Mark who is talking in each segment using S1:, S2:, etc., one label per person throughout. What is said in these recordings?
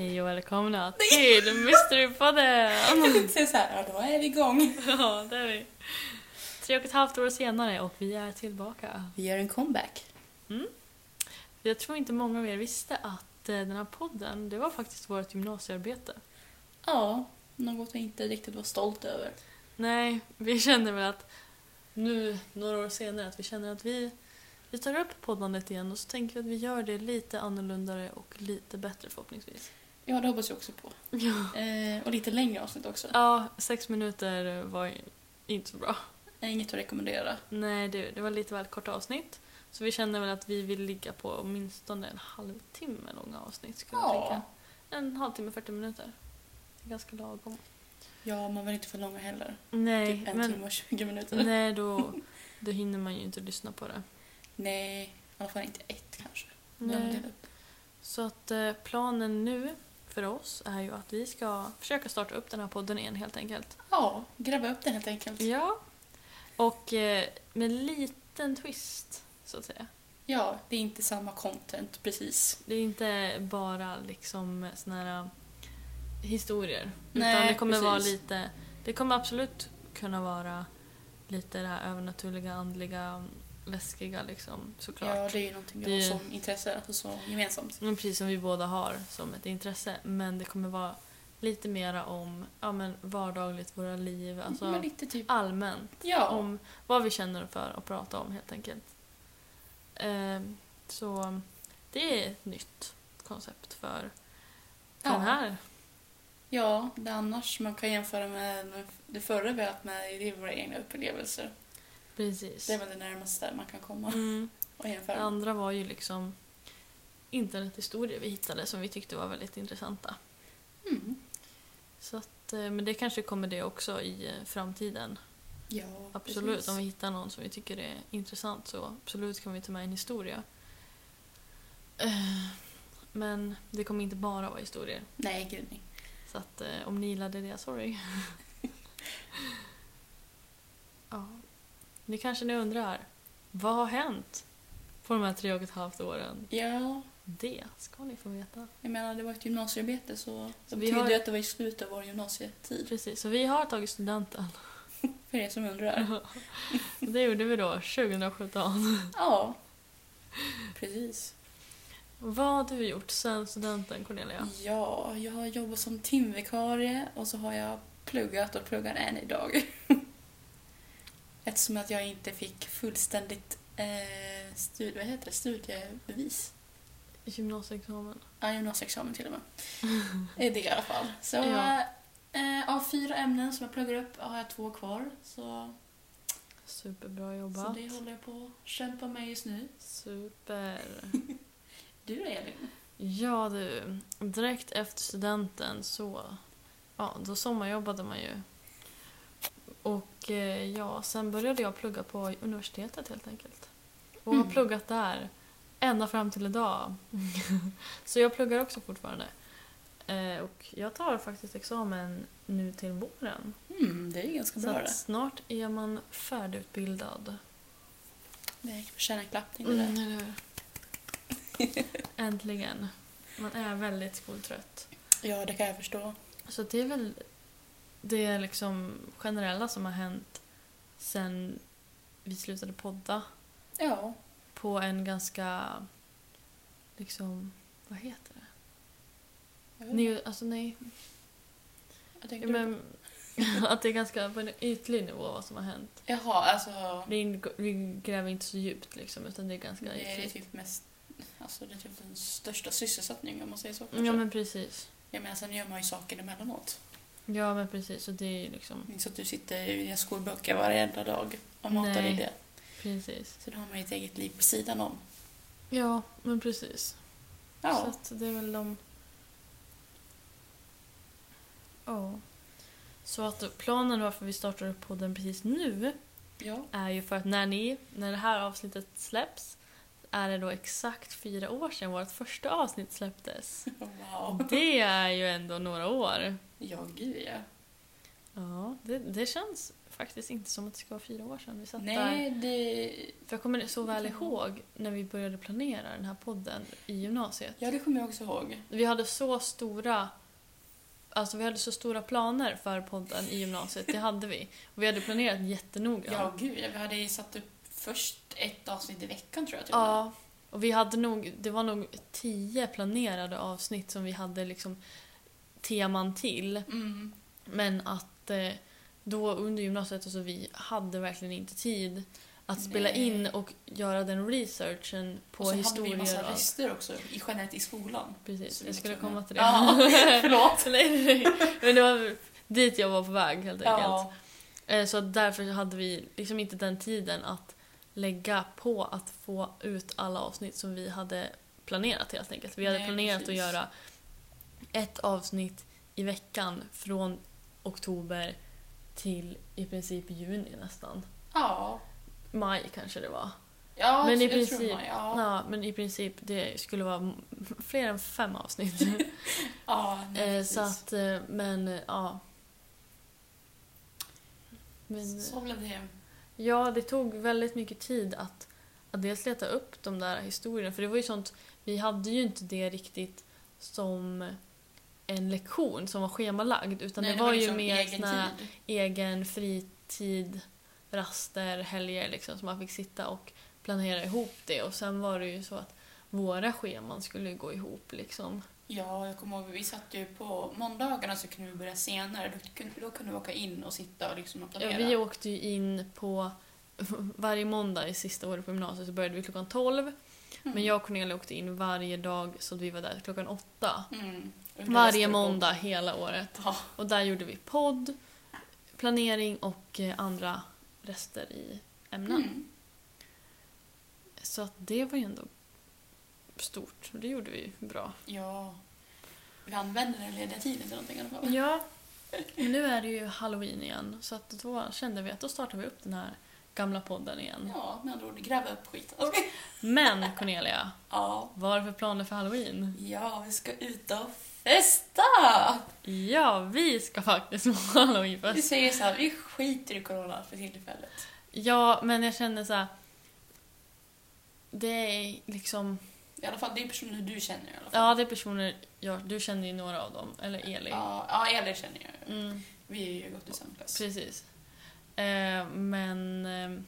S1: välkomna till Mysterypodden!
S2: Så är det så här, ja, då är vi igång.
S1: ja, det är vi. Tre och ett halvt år senare och vi är tillbaka.
S2: Vi gör en comeback.
S1: Jag tror inte många av er visste att eh, den här podden, det var faktiskt vårt gymnasiearbete.
S2: Ja, något vi inte riktigt var stolt över.
S1: Nej, vi känner väl att nu, några år senare, att vi känner att vi, vi tar upp poddandet igen och så tänker vi att vi gör det lite annorlunda och lite bättre förhoppningsvis.
S2: Ja, det hoppas jag också på.
S1: Ja.
S2: Eh, och lite längre avsnitt också.
S1: Ja, sex minuter var inte så bra.
S2: Är Inget att rekommendera.
S1: Nej, det, det var lite väl korta avsnitt. Så vi känner väl att vi vill ligga på åtminstone en halvtimme långa avsnitt skulle jag
S2: Ja.
S1: tänka. En halvtimme, 40 minuter. Det är ganska lagom.
S2: ja, man vill inte för långa heller.
S1: Nej,
S2: typ en
S1: men
S2: timme och 20 minuter. Nej.
S1: nej, då, då hinner man ju inte lyssna på det.
S2: Nej, i alla fall inte ett kanske. Den
S1: Nej.
S2: delen.
S1: Så att eh, planen nu för oss är ju att vi ska försöka starta upp den här podden igen helt enkelt.
S2: Ja, gräva upp den helt enkelt.
S1: Ja. Och eh, med liten twist, så att säga.
S2: Ja, det är inte samma content precis.
S1: Det är inte bara liksom såna här historier. utan
S2: Nej,
S1: det kommer vara
S2: precis.
S1: lite, det kommer absolut kunna vara lite det här övernaturliga, andliga, läskiga liksom såklart.
S2: Ja, det är ju någonting vi
S1: Det-
S2: har som intresse, alltså så gemensamt.
S1: Men precis som vi båda har som ett intresse. Men det kommer vara lite mera om ja, men vardagligt, våra liv, alltså
S2: Men lite typ,
S1: allmänt.
S2: ja.
S1: Om vad vi känner för att prata om helt enkelt. Ehm, så det är ett nytt koncept för
S2: Ja.
S1: den här.
S2: Ja, det är annars man kan jämföra med med det förra vi har haft med, det är våra egna upplevelser.
S1: Precis.
S2: Det är väl det närmaste man kan komma
S1: Mm.
S2: och
S1: Det
S2: jämföra.
S1: andra var ju liksom internethistorier vi hittade som vi tyckte var väldigt intressanta.
S2: Mm.
S1: Så att, eh, men det kanske kommer det också i eh, framtiden.
S2: Ja,
S1: Absolut,
S2: precis.
S1: om vi hittar någon som vi tycker är intressant så absolut kan vi ta med en historia. Eh, Men det kommer inte bara vara historier.
S2: Nej, gud nej.
S1: Så att eh, om ni gillade det, sorry. ja. Ni kanske ni undrar, vad har hänt på de här tre och ett halvt åren?
S2: Ja,
S1: Det ska ni få veta.
S2: jag menar det var ett gymnasiearbete så
S1: Så
S2: det
S1: vi
S2: betyder
S1: har-
S2: ju att det var i slutet av vår gymnasietid.
S1: Precis, så vi har tagit studenten.
S2: För er som undrar.
S1: Det gjorde vi då 2017.
S2: Ja, precis.
S1: Vad har du gjort sen studenten, Cornelia?
S2: Ja, jag har jobbat som timvikarie och så har jag pluggat och pluggar än idag. Eftersom att jag inte fick fullständigt eh, stud- vad heter det? studiebevis.
S1: Gymnasieexamen.
S2: Ja, gymnasieexamen till och med. Det är det i alla fall. Så
S1: Ja.
S2: eh, av fyra ämnen som jag pluggar upp har jag två kvar. Så,
S1: Superbra
S2: så
S1: jobbat.
S2: det håller jag på att kämpa med just nu.
S1: Super.
S2: Du då Elin?
S1: Ja du, direkt efter studenten så ja, då sommarjobbade man ju. Och eh, ja, sen började jag plugga på universitetet helt enkelt. Och har
S2: Mm.
S1: pluggat där ända fram till idag. så jag pluggar också fortfarande. Eh, och jag tar faktiskt examen nu till våren.
S2: Mm, det är ganska
S1: Så
S2: bra
S1: att
S2: det.
S1: snart är man färdigutbildad.
S2: Det förtjänar en klappning det
S1: Mm,
S2: där.
S1: eller hur? Äntligen. Man är väldigt skoltrött.
S2: Ja, det kan jag förstå.
S1: Så Alltså, det är väl det liksom generella som har hänt sen vi slutade podda
S2: Ja,
S1: på en ganska, liksom, vad heter det?
S2: jag vet
S1: Neo, alltså nej,
S2: Vad tänker
S1: ja,
S2: du på?
S1: men att det är ganska på en ytlig nivå vad som har hänt.
S2: Jaha, alltså...
S1: Det ingår- Vi gräver inte så djupt liksom, utan det är ganska
S2: Det är
S1: ytligt.
S2: typ mest... Alltså det är typ den största sysselsättningen om man säger så kanske.
S1: Ja men precis.
S2: Jag menar sen gör man ju saker emellanåt.
S1: Ja men precis, så det är ju liksom,
S2: Det är inte så att du sitter i dina skolböcker varenda dag och matar
S1: Nej.
S2: dig det.
S1: precis.
S2: Så då har man ju ett eget liv på sidan om.
S1: Ja, men precis. Så
S2: Ja.
S1: att det är väl de... Ja. Så att planen varför vi startar upp podden precis nu
S2: ja.
S1: är ju för att när ni, när det här avsnittet släpps är det då exakt fyra år sedan vårt första avsnitt släpptes.
S2: Wow.
S1: Det är ju ändå några år.
S2: Ja, gud ja.
S1: Ja, det, det känns faktiskt inte som att det ska vara fyra år sedan vi satt där.
S2: Nej, det...
S1: För jag kommer så väl ihåg när vi började planera den här podden i gymnasiet.
S2: Ja, det kommer jag också ihåg.
S1: Vi hade så stora alltså vi hade så stora planer för podden i gymnasiet, det hade vi. Och vi hade planerat jättenoga.
S2: Ja, gud. ja, Vi hade ju satt upp först ett avsnitt i veckan tror jag. till och med.
S1: Ja, och vi hade nog, det var nog tio planerade avsnitt som vi hade liksom teman till.
S2: Mm.
S1: Men att eh, då under gymnasiet, alltså, vi hade verkligen inte tid att spela
S2: Nej.
S1: in och göra den researchen på
S2: och så hade vi
S1: historier
S2: ju
S1: och
S2: massa
S1: allt.
S2: rester också, i, generellt i skolan.
S1: Precis,
S2: Så
S1: jag skulle
S2: liksom-
S1: komma till det.
S2: Ja, förlåt.
S1: nej, nej, nej. Men det var dit jag var på väg helt enkelt.
S2: Ja.
S1: Eh, Så att därför hade vi liksom inte den tiden att lägga på att få ut alla avsnitt som vi hade planerat helt enkelt. Vi hade
S2: Nej,
S1: planerat
S2: precis.
S1: att göra ett avsnitt i veckan från oktober till i princip juni nästan.
S2: Ja.
S1: Maj kanske det var.
S2: Ja,
S1: Men i
S2: jag tror
S1: princip-
S2: man, ja. ja.
S1: Ja, men i princip det skulle vara m- fler än fem avsnitt.
S2: nej,
S1: Eh,
S2: precis.
S1: Så att, eh, men eh, ja. Men, eh,
S2: Så blev det.
S1: Ja, det tog väldigt mycket tid att, att dels leta upp de där historierna. För det var ju sånt, vi hade ju inte det riktigt som en lektion som var schemalagd. Utan
S2: Nej,
S1: det, var,
S2: liksom
S1: ju mer
S2: egen
S1: sån här
S2: tid.
S1: egen fritid, raster, helger liksom. Så man fick sitta och planera ihop det. Och sen var det ju så att våra scheman skulle gå ihop liksom.
S2: Ja, jag kommer ihåg, vi satt ju på måndagarna så kunde vi börja senare. Då kunde, då kunde vi åka in och sitta och liksom och planera.
S1: Vi åkte ju in på varje måndag i sista året på gymnasiet så började vi klockan 12
S2: Mm.
S1: Men jag och Cornelia åkte in varje dag så att vi var där klockan åtta.
S2: Mm. Och vi läste
S1: Varje
S2: på-
S1: måndag hela året.
S2: Ja.
S1: Och där gjorde vi podd, planering och eh, andra rester i ämnen.
S2: Mm.
S1: Så att det var ju ändå stort. och Det gjorde vi ju bra.
S2: Ja. Vi använde den lediga tiden till någonting i alla fall.
S1: Ja. Men nu är det ju halloween igen så att då kände vi att då startar vi upp den här gamla podden igen.
S2: Ja, med andra ord, gräva upp skit. Okej.
S1: Men Cornelia,
S2: Ja.
S1: vad är det för planer för halloween?
S2: ja, vi ska ut och festa!
S1: Ja, vi ska faktiskt ha
S2: Vi
S1: halloweenfest.
S2: säger så här, vi skiter i corona för tillfället.
S1: Ja, men jag känner så här. Det är liksom...
S2: I alla fall, det är personer du känner i alla fall.
S1: Ja, det är personer... Ja, du känner ju några av dem, eller Eli.
S2: Ja, ja Elin känner jag ju.
S1: Mm,
S2: Vi är ju gått i samma klass.
S1: precis. Eh, men eh,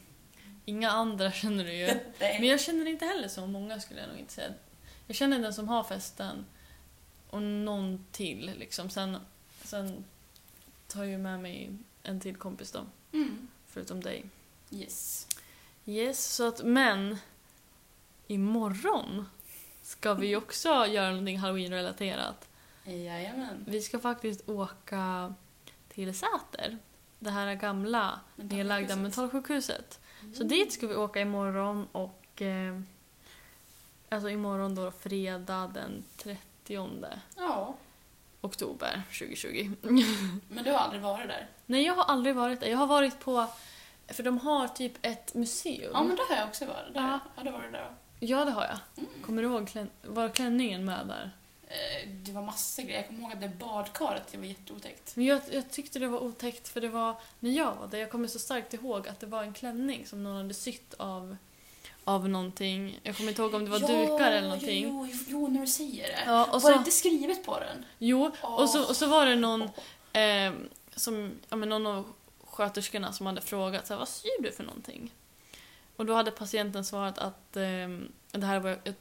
S1: inga andra känner du ju.
S2: Nej.
S1: Men jag känner inte heller så många skulle jag nog inte säga. Jag känner den som har festen och någon till liksom. Sen, sen tar jag ju med mig en till kompis då,
S2: Mm.
S1: förutom dig.
S2: Yes.
S1: Yes, så att, men imorgon ska vi ju också göra någonting halloween-relaterat.
S2: Jajamän.
S1: Vi ska faktiskt åka till Säter, det här gamla nedlagda mentalsjukhuset. Så
S2: Mm.
S1: dit ska vi åka imorgon och eh, alltså imorgon då fredag den 30
S2: Ja,
S1: oktober 2020.
S2: men du har aldrig varit där?
S1: Nej, jag har aldrig varit där. Jag har varit på, för de har typ ett museum.
S2: Ja, men det har jag också varit. Där.
S1: Ja.
S2: Ja. Har du varit där? då?
S1: Ja, det har jag.
S2: Mm.
S1: Kommer du ihåg klän- var klänningen med där?
S2: Eh, Det var massa grejer. Jag kommer ihåg att det badkaret, det var jätteotäckt.
S1: Men jag, jag tyckte det var otäckt för det var när jag var där, jag kommer så starkt ihåg att det var en klänning som någon hade sytt av, av någonting. Jag kommer inte ihåg om det var dukar eller någonting.
S2: Jo, jo, jo, när du säger det.
S1: Ja, och
S2: Var det
S1: så,
S2: inte skrivet på den?
S1: jo, och så,
S2: Åh.
S1: och så var det någon, eh, som, ja, men någon av sköterskorna som hade frågat så här, vad syr du för någonting? Och då hade patienten svarat att, eh, det här var jag jag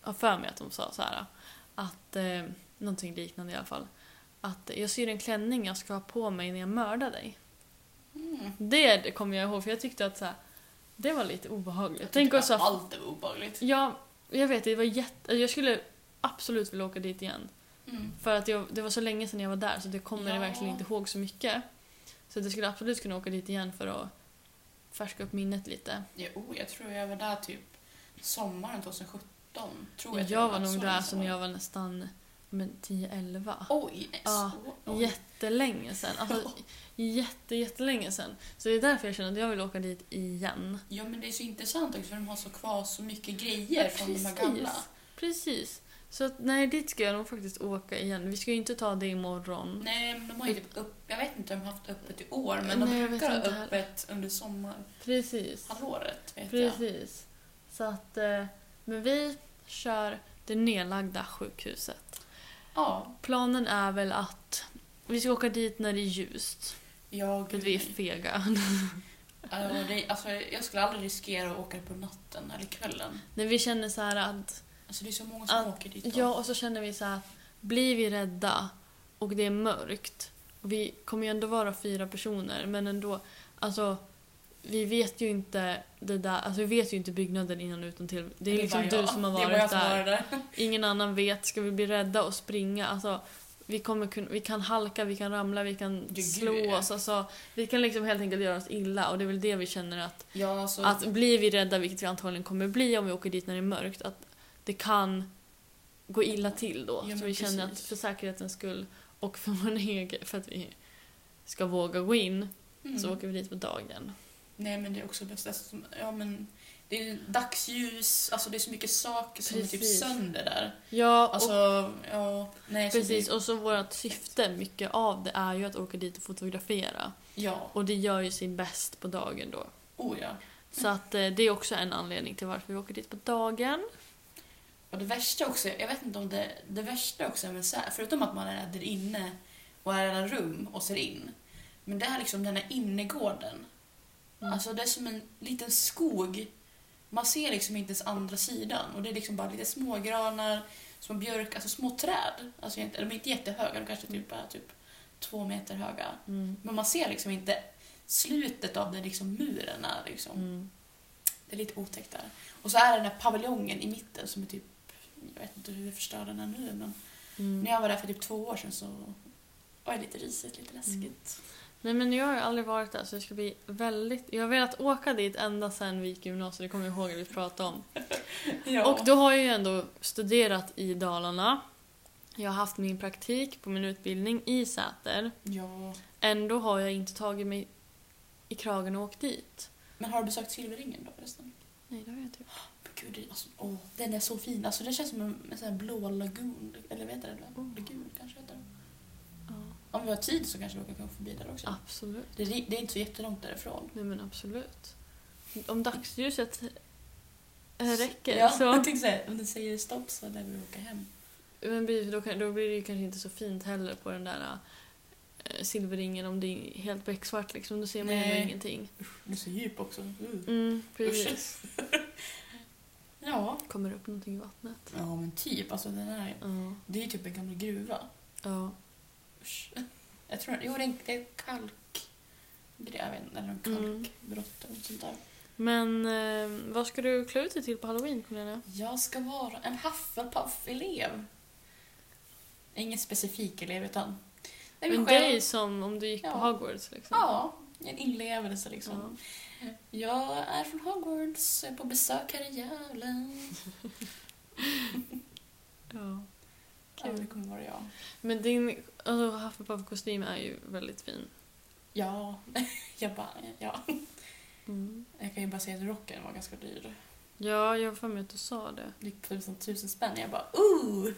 S1: har för mig att de sa så här, att eh, någonting liknande i alla fall, att jag syr en klänning jag ska ha på mig när jag mördar dig.
S2: Mm.
S1: Det kommer jag ihåg för jag tyckte att så här, det var lite obehagligt. Tänk
S2: tyckte
S1: också,
S2: att allt var obehagligt.
S1: ja, jag vet det var jätte, alltså, jag skulle absolut vilja åka dit igen.
S2: Mm.
S1: För att jag, det var så länge sedan jag var där så det kommer jag
S2: Ja.
S1: verkligen inte ihåg så mycket. Så att jag skulle absolut kunna åka dit igen för att färska upp minnet lite.
S2: Jo, oh, jag tror jag var där typ sommaren 2017. Tror
S1: Jag,
S2: jag
S1: var nog där som när jag var nästan men, 10-11.
S2: Oj, yes.
S1: Ja,
S2: Oj.
S1: Jättelänge sedan. Alltså, jätte, jättelänge sedan. Så det är därför jag känner att jag vill åka dit igen.
S2: Ja, men det är så intressant också för de har så kvar så mycket grejer från de här gamla.
S1: Precis. Så att, nej, dit ska jag nog faktiskt åka igen. Vi ska ju inte ta det imorgon.
S2: Nej, men de har ju typ upp, jag vet inte om de har haft öppet i år, men de
S1: Mm. Nej, jag
S2: brukar ha
S1: vet inte heller.
S2: öppet under sommarhalvåret,
S1: Precis.
S2: Alltså, vet jag.
S1: Precis. Så att, eh, men vi kör det nedlagda sjukhuset.
S2: Ja,
S1: Planen är väl att Vi ska åka dit när det är ljust.
S2: Ja,
S1: För
S2: gud.
S1: att vi är fega.
S2: Alltså, det, alltså, jag skulle aldrig riskera att åka på natten eller kvällen.
S1: när vi känner så här att...
S2: Alltså, det är så många som
S1: Ah,
S2: åker dit. då.
S1: Ja, och så känner vi så här att blir vi rädda och det är mörkt. Och vi kommer ju ändå vara fyra personer, men ändå. Alltså, vi vet ju inte det där. Alltså, vi vet ju inte byggnaden innan utan till. Det är liksom
S2: bara
S1: du
S2: jag.
S1: som har
S2: Det är
S1: varit
S2: bara jag som
S1: där.
S2: har varit där.
S1: Ingen annan vet. Ska vi bli rädda och springa? Alltså, vi, kommer kunna, vi kan halka, vi kan ramla, vi kan
S2: Ja, gud,
S1: slå
S2: ja.
S1: oss. Alltså, vi kan liksom helt enkelt göra oss illa och det är väl det vi känner att,
S2: Ja, alltså,
S1: att blir vi rädda, vilket vi antagligen kommer bli om vi åker dit när det är mörkt, att det kan gå illa till då.
S2: Ja, men
S1: så vi känner att
S2: precis.
S1: för säkerhetens skull och för vår egen, för att vi ska våga gå in,
S2: mm.
S1: så åker vi dit på dagen.
S2: Nej, men det är också bäst. Alltså, ja, men, det är ju dagsljus, alltså det är så mycket saker som är typ
S1: Precis.
S2: sönder där.
S1: Ja, och
S2: Alltså, ja, nej, så
S1: precis.
S2: Det,
S1: Och så vårt syfte, mycket av det, är ju att åka dit och fotografera.
S2: ja,
S1: Och det gör ju sin bäst på dagen då.
S2: oh ja.
S1: Så att eh, det är också en anledning till varför vi åker dit på dagen.
S2: Och det värsta också, jag vet inte om det, det värsta också med så här, förutom att man är där inne och är i alla rum och ser in. Men det här liksom den här innergården.
S1: Mm.
S2: Alltså det är som en liten skog. Man ser liksom inte ens andra sidan och det är liksom bara lite smågranar, små björk, alltså små träd. Alltså inte- de är inte jättehöga, de kanske typ är typ två meter höga.
S1: Mm.
S2: Men man ser liksom inte slutet av den liksom muren är liksom.
S1: Mm.
S2: Det är lite otäckt där. Och så är det den här paviljongen i mitten som är typ... Jag vet inte hur förstörd den är nu, men
S1: Mm.
S2: när jag var där för typ två år sedan så var det lite risigt, lite läskigt.
S1: Nej men jag har ju aldrig varit där så det ska bli väldigt... Jag har velat åka dit ända sedan vi gick i gymnasiet, det kommer jag ihåg att vi pratade om.
S2: Ja.
S1: Och då har jag ju ändå studerat i Dalarna. Jag har haft min praktik på min utbildning i Säter.
S2: ja.
S1: Ändå har jag inte tagit mig i kragen och åkt dit.
S2: Men har du besökt Silverringen då förresten?
S1: Nej, det har jag inte gjort.
S2: Men Gud, det- alltså, åh, den är så fin. Alltså, det känns som en, en sån här blå lagun, eller vad heter det?
S1: Oh.
S2: Lagun kanske heter det.
S1: Ja,
S2: Om vi har tid så kanske vi kan gå förbi där också.
S1: absolut.
S2: Det, är- det är inte så jättelångt därifrån.
S1: Nej men absolut. Om dagsljuset eh, räcker
S2: ja, Jag
S1: så...
S2: tänkte säga, om den säger stopp så lär vi åka hem.
S1: Men blir- då, kan, då blir det ju kanske inte så fint heller på den där eh, silverringen om det är helt becksvart liksom. Då ser man ju
S2: Nej.
S1: ändå ingenting.
S2: Den är så djup också. Mm.
S1: Mm,
S2: Usch.
S1: precis.
S2: Ja.
S1: Kommer upp någonting i vattnet.
S2: Ja men typ, alltså den här,
S1: Ja.
S2: det är ju typ en gammal gruva.
S1: Ja.
S2: Usch. Jag tror, jo det är, det är kalk, det är, jag vet inte, eller en
S1: Mm.
S2: kalkbrott eller något sånt där.
S1: Men eh, vad ska du klä ut dig till på halloween Cornelia?
S2: Jag ska vara en Hufflepuff-elev. Ingen specifik elev utan... Nej,
S1: Men
S2: själv-
S1: dig som om du gick
S2: Ja.
S1: på Hogwarts liksom.
S2: Ja, en inlevelse liksom. Jag är från Hogwarts, jag är på besök här i Gävle.
S1: ja.
S2: Ja,
S1: Kul.
S2: det kommer vara jag.
S1: Men din alltså, Hufflepuff-kostym är ju väldigt fin.
S2: Ja, jag bara, ja.
S1: Mm.
S2: Jag kan ju bara säga att rocken var ganska dyr.
S1: Ja, jag har för mig att du sa det.
S2: gick på tusen, tusen spänn. Jag bara ooh,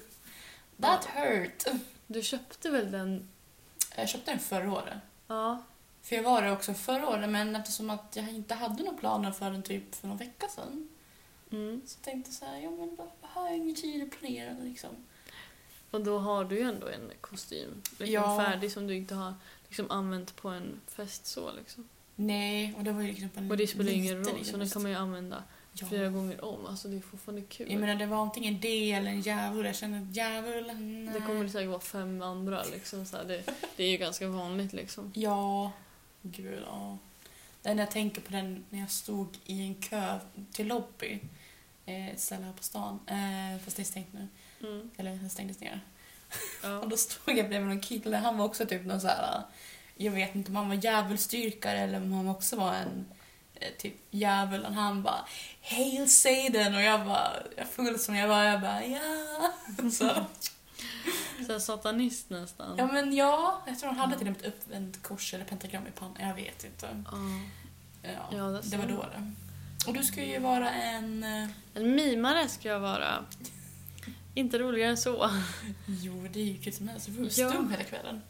S2: that hurt.
S1: Du köpte väl den?
S2: Jag köpte den förra året.
S1: Ja.
S2: För jag var det också förra året, men eftersom att jag inte hade några planer för den typ för någon vecka sedan
S1: Mm.
S2: så tänkte jag så här, ja men då har jag ingen tid att planera liksom.
S1: Och då har du ju ändå en kostym liksom
S2: Ja.
S1: färdig som du inte har liksom, använt på en fest så liksom.
S2: Nej, och det var ju liksom på en
S1: Och det spelar ju
S2: liten,
S1: ingen roll,
S2: liten
S1: så den
S2: fest.
S1: kan man ju använda flera
S2: ja.
S1: gånger om. Alltså det är fortfarande kul.
S2: Jag menar, det var antingen det eller en djävul. Jag kände att djävul, nej.
S1: det kommer det säkert vara fem andra liksom. Så här, det, det är ju ganska vanligt liksom.
S2: Ja, gud ja. Det enda jag tänker på den när jag stod i en kö till Lobby, eh, ett ställe här på stan, eh, fast det är stängt nu.
S1: Mm.
S2: Eller den stängdes ner. Och
S1: Ja.
S2: då stod jag bredvid någon kille, han var också typ någon så här. jag vet inte om han var djävulsdyrkare eller om han också var en eh, typ djävulen. Han bara Hail Satan och jag bara, jag full som jag var, jag bara ja. Så,
S1: Så här, satanist nästan.
S2: ja men ja, jag tror han hade till och med ett uppvänt kors eller pentagram i pannan, jag vet inte.
S1: Ja.
S2: Ja,
S1: Ja, det
S2: det var
S1: ser
S2: då det. Och du ska ju vara en... eh,
S1: En mimare ska jag vara. Inte roligare än så.
S2: Jo, det är ju kul som helst. Du var
S1: Ja.
S2: stum hela kvällen.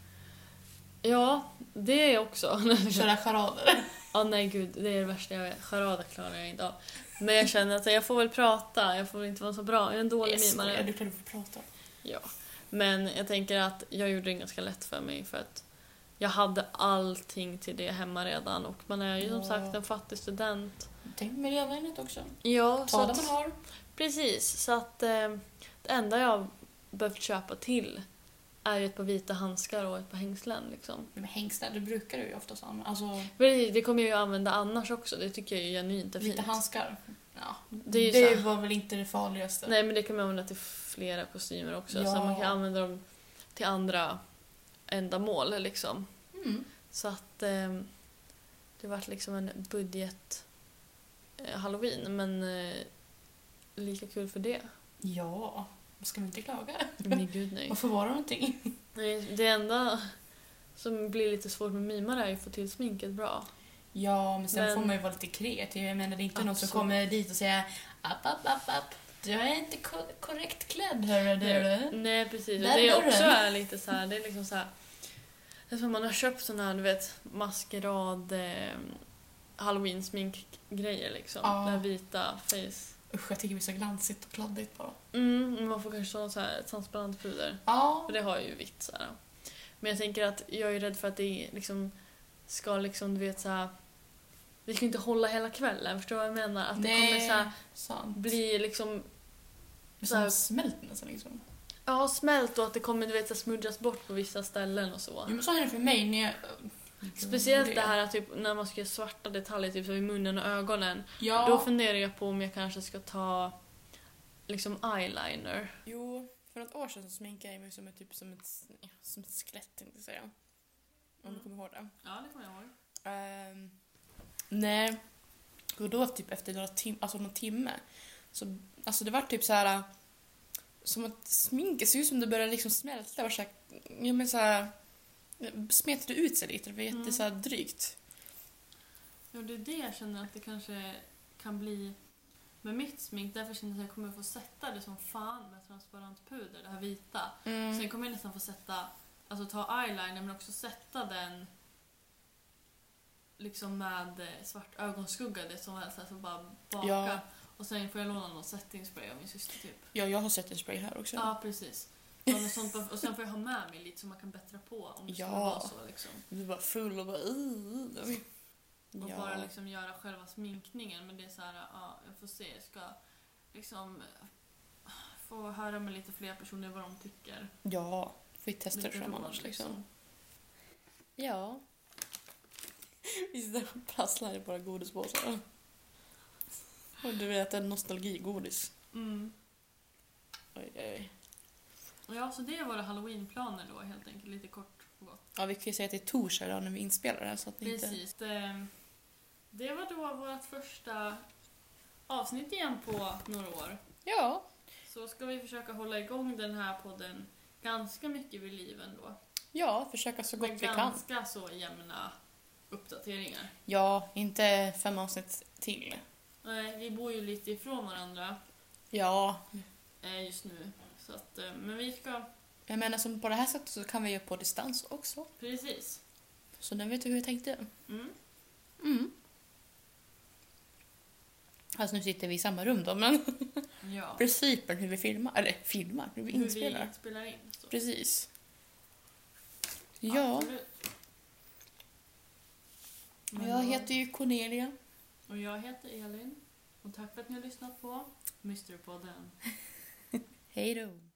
S1: Ja, det är jag också.
S2: Köra charader.
S1: Ja, nej gud, det är det värsta jag vet. Charader klarar jag inte av. Men jag känner att jag får väl prata, jag får väl inte vara så bra. Jag är en dålig
S2: Jag skojar,
S1: mimare.
S2: Du klarar att få prata.
S1: Ja. Men jag tänker att jag gjorde det ganska lätt för mig för att jag hade allting till det hemma redan och man är ju som
S2: Ja.
S1: sagt en fattig student.
S2: Tänk miljövänligt också.
S1: Ja, så
S2: Ta det
S1: att-
S2: man har.
S1: Precis, så att eh, det enda jag behövt köpa till är ju ett par vita handskar och ett par hängslen. Liksom.
S2: Men hängslar, det brukar du ju oftast använda. Alltså,
S1: Men Det kommer jag ju använda annars också, det tycker jag ju genuint är fint.
S2: vita handskar. Ja.
S1: Det är ju
S2: det
S1: så här-
S2: var väl inte det farligaste.
S1: Nej men det kan man använda till flera kostymer också, så
S2: Ja.
S1: man kan använda dem till andra ändamål. Liksom.
S2: Mm.
S1: Så att eh, det vart liksom en budget eh, halloween, men eh, lika kul för det.
S2: Ja, ska man inte klaga?
S1: Nej gud nej.
S2: Varför var det någonting?
S1: Nej, det enda som blir lite svårt med mimar är ju att få till sminket bra.
S2: Ja, men sen
S1: Men-
S2: får man ju vara lite kreativ. Jag menar, det är inte någon som
S1: Absolut.
S2: kommer dit och säger app, app, app, app. Jag är inte ko- korrekt klädd, hörru du.
S1: Nej, precis. Och
S2: Där
S1: det
S2: går
S1: också
S2: den.
S1: är lite så här, det är liksom så här... Det är som man har köpt såna här, du vet, maskerad eh, halloween-sminkgrejer liksom.
S2: Ja.
S1: Där vita face.
S2: Usch, jag tycker det blir så glansigt och kladdigt bara.
S1: Mm, men man får kanske ta något så här transparent puder.
S2: Ja,
S1: För det har jag ju vitt så här. Men jag tänker att jag är rädd för att det liksom ska liksom, du vet så här... Det ska inte hålla hela kvällen, förstår du vad jag menar? Att det kommer så här,
S2: sant.
S1: bli liksom
S2: Det är
S1: så här-
S2: som smält nästan liksom.
S1: Ja, smält och att det kommer du vet, så här smudgas bort på vissa ställen och så.
S2: Ja, men så är det för mig när jag...
S1: Speciellt det här att typ, när man ska göra svarta detaljer typ, som i munnen och ögonen.
S2: Ja.
S1: Då funderar jag på om jag kanske ska ta liksom eyeliner.
S2: Jo, för något år sedan så sminkade jag mig som ett, typ, som ett, ja, som ett skelett, tänkte jag säga. Om du
S1: Mm.
S2: kommer ihåg det.
S1: Ja, det kommer jag ihåg.
S2: Ehm, nej. Och då typ efter några tim- alltså någon timme, så, alltså det var typ så här som att sminket såg ut som det började liksom smälta. Det var så här, ja, men så här, smetade ut sig lite, det var jätte
S1: Mm.
S2: så här, drygt.
S1: Ja, det är det jag känner att det kanske kan bli med mitt smink. Därför känner jag att jag kommer få sätta det som fan med transparent puder, det här vita. Sen kommer jag nästan få sätta, alltså ta eyeliner men också sätta den liksom med eh, svart ögonskugga, det som helst, alltså bara baka.
S2: Ja.
S1: Och sen får jag låna någon setting spray av min syster typ.
S2: Ja, jag har sett en spray här också.
S1: Ja, precis. Ja, något sånt bara- och sen får jag ha med mig lite som man kan bättra på om det
S2: Ja.
S1: skulle vara så. Liksom.
S2: Du var full och bara... "Ih."
S1: Och
S2: Ja.
S1: bara liksom göra själva sminkningen. Men det är så här, ja, jag får se. Jag ska liksom eh, få höra med lite fler personer vad de tycker.
S2: Ja, får ju testa det
S1: Lite
S2: fram
S1: råd,
S2: annars liksom. Ja. Vi sitter och prasslar i våra godispåsar. Och du vet, en nostalgigodis.
S1: Mm.
S2: Oj, oj, oj.
S1: Ja, så det är våra halloweenplaner då helt enkelt, lite kort och gott.
S2: Ja, vi kan ju säga att det är torsdag idag när vi inspelar det här så att det inte...
S1: Precis. Det, det var då vårt första avsnitt igen på några år.
S2: Ja,
S1: Så ska vi försöka hålla igång den här podden ganska mycket vid liv ändå.
S2: ja, försöka så gott
S1: Med
S2: vi kan.
S1: ganska så jämna uppdateringar.
S2: Ja, inte fem avsnitt till.
S1: Nej, vi bor ju lite ifrån varandra
S2: Ja,
S1: eh, just nu. Så att, eh, men vi ska...
S2: jag menar som på det här sättet så kan vi göra på distans också.
S1: Precis.
S2: Så nu vet du hur jag tänkte.
S1: Mm.
S2: Mm. Alltså nu sitter vi i samma rum då, men
S1: Ja.
S2: principen hur vi filmar, eller filmar, hur vi
S1: Hur
S2: inspelar.
S1: vi spelar in. Så.
S2: Precis. Ja,
S1: Absolut. Men
S2: jag
S1: då-
S2: heter ju Cornelia.
S1: Och jag heter Elin. Och tack för att ni har lyssnat på Mysterpodden.
S2: Hej då.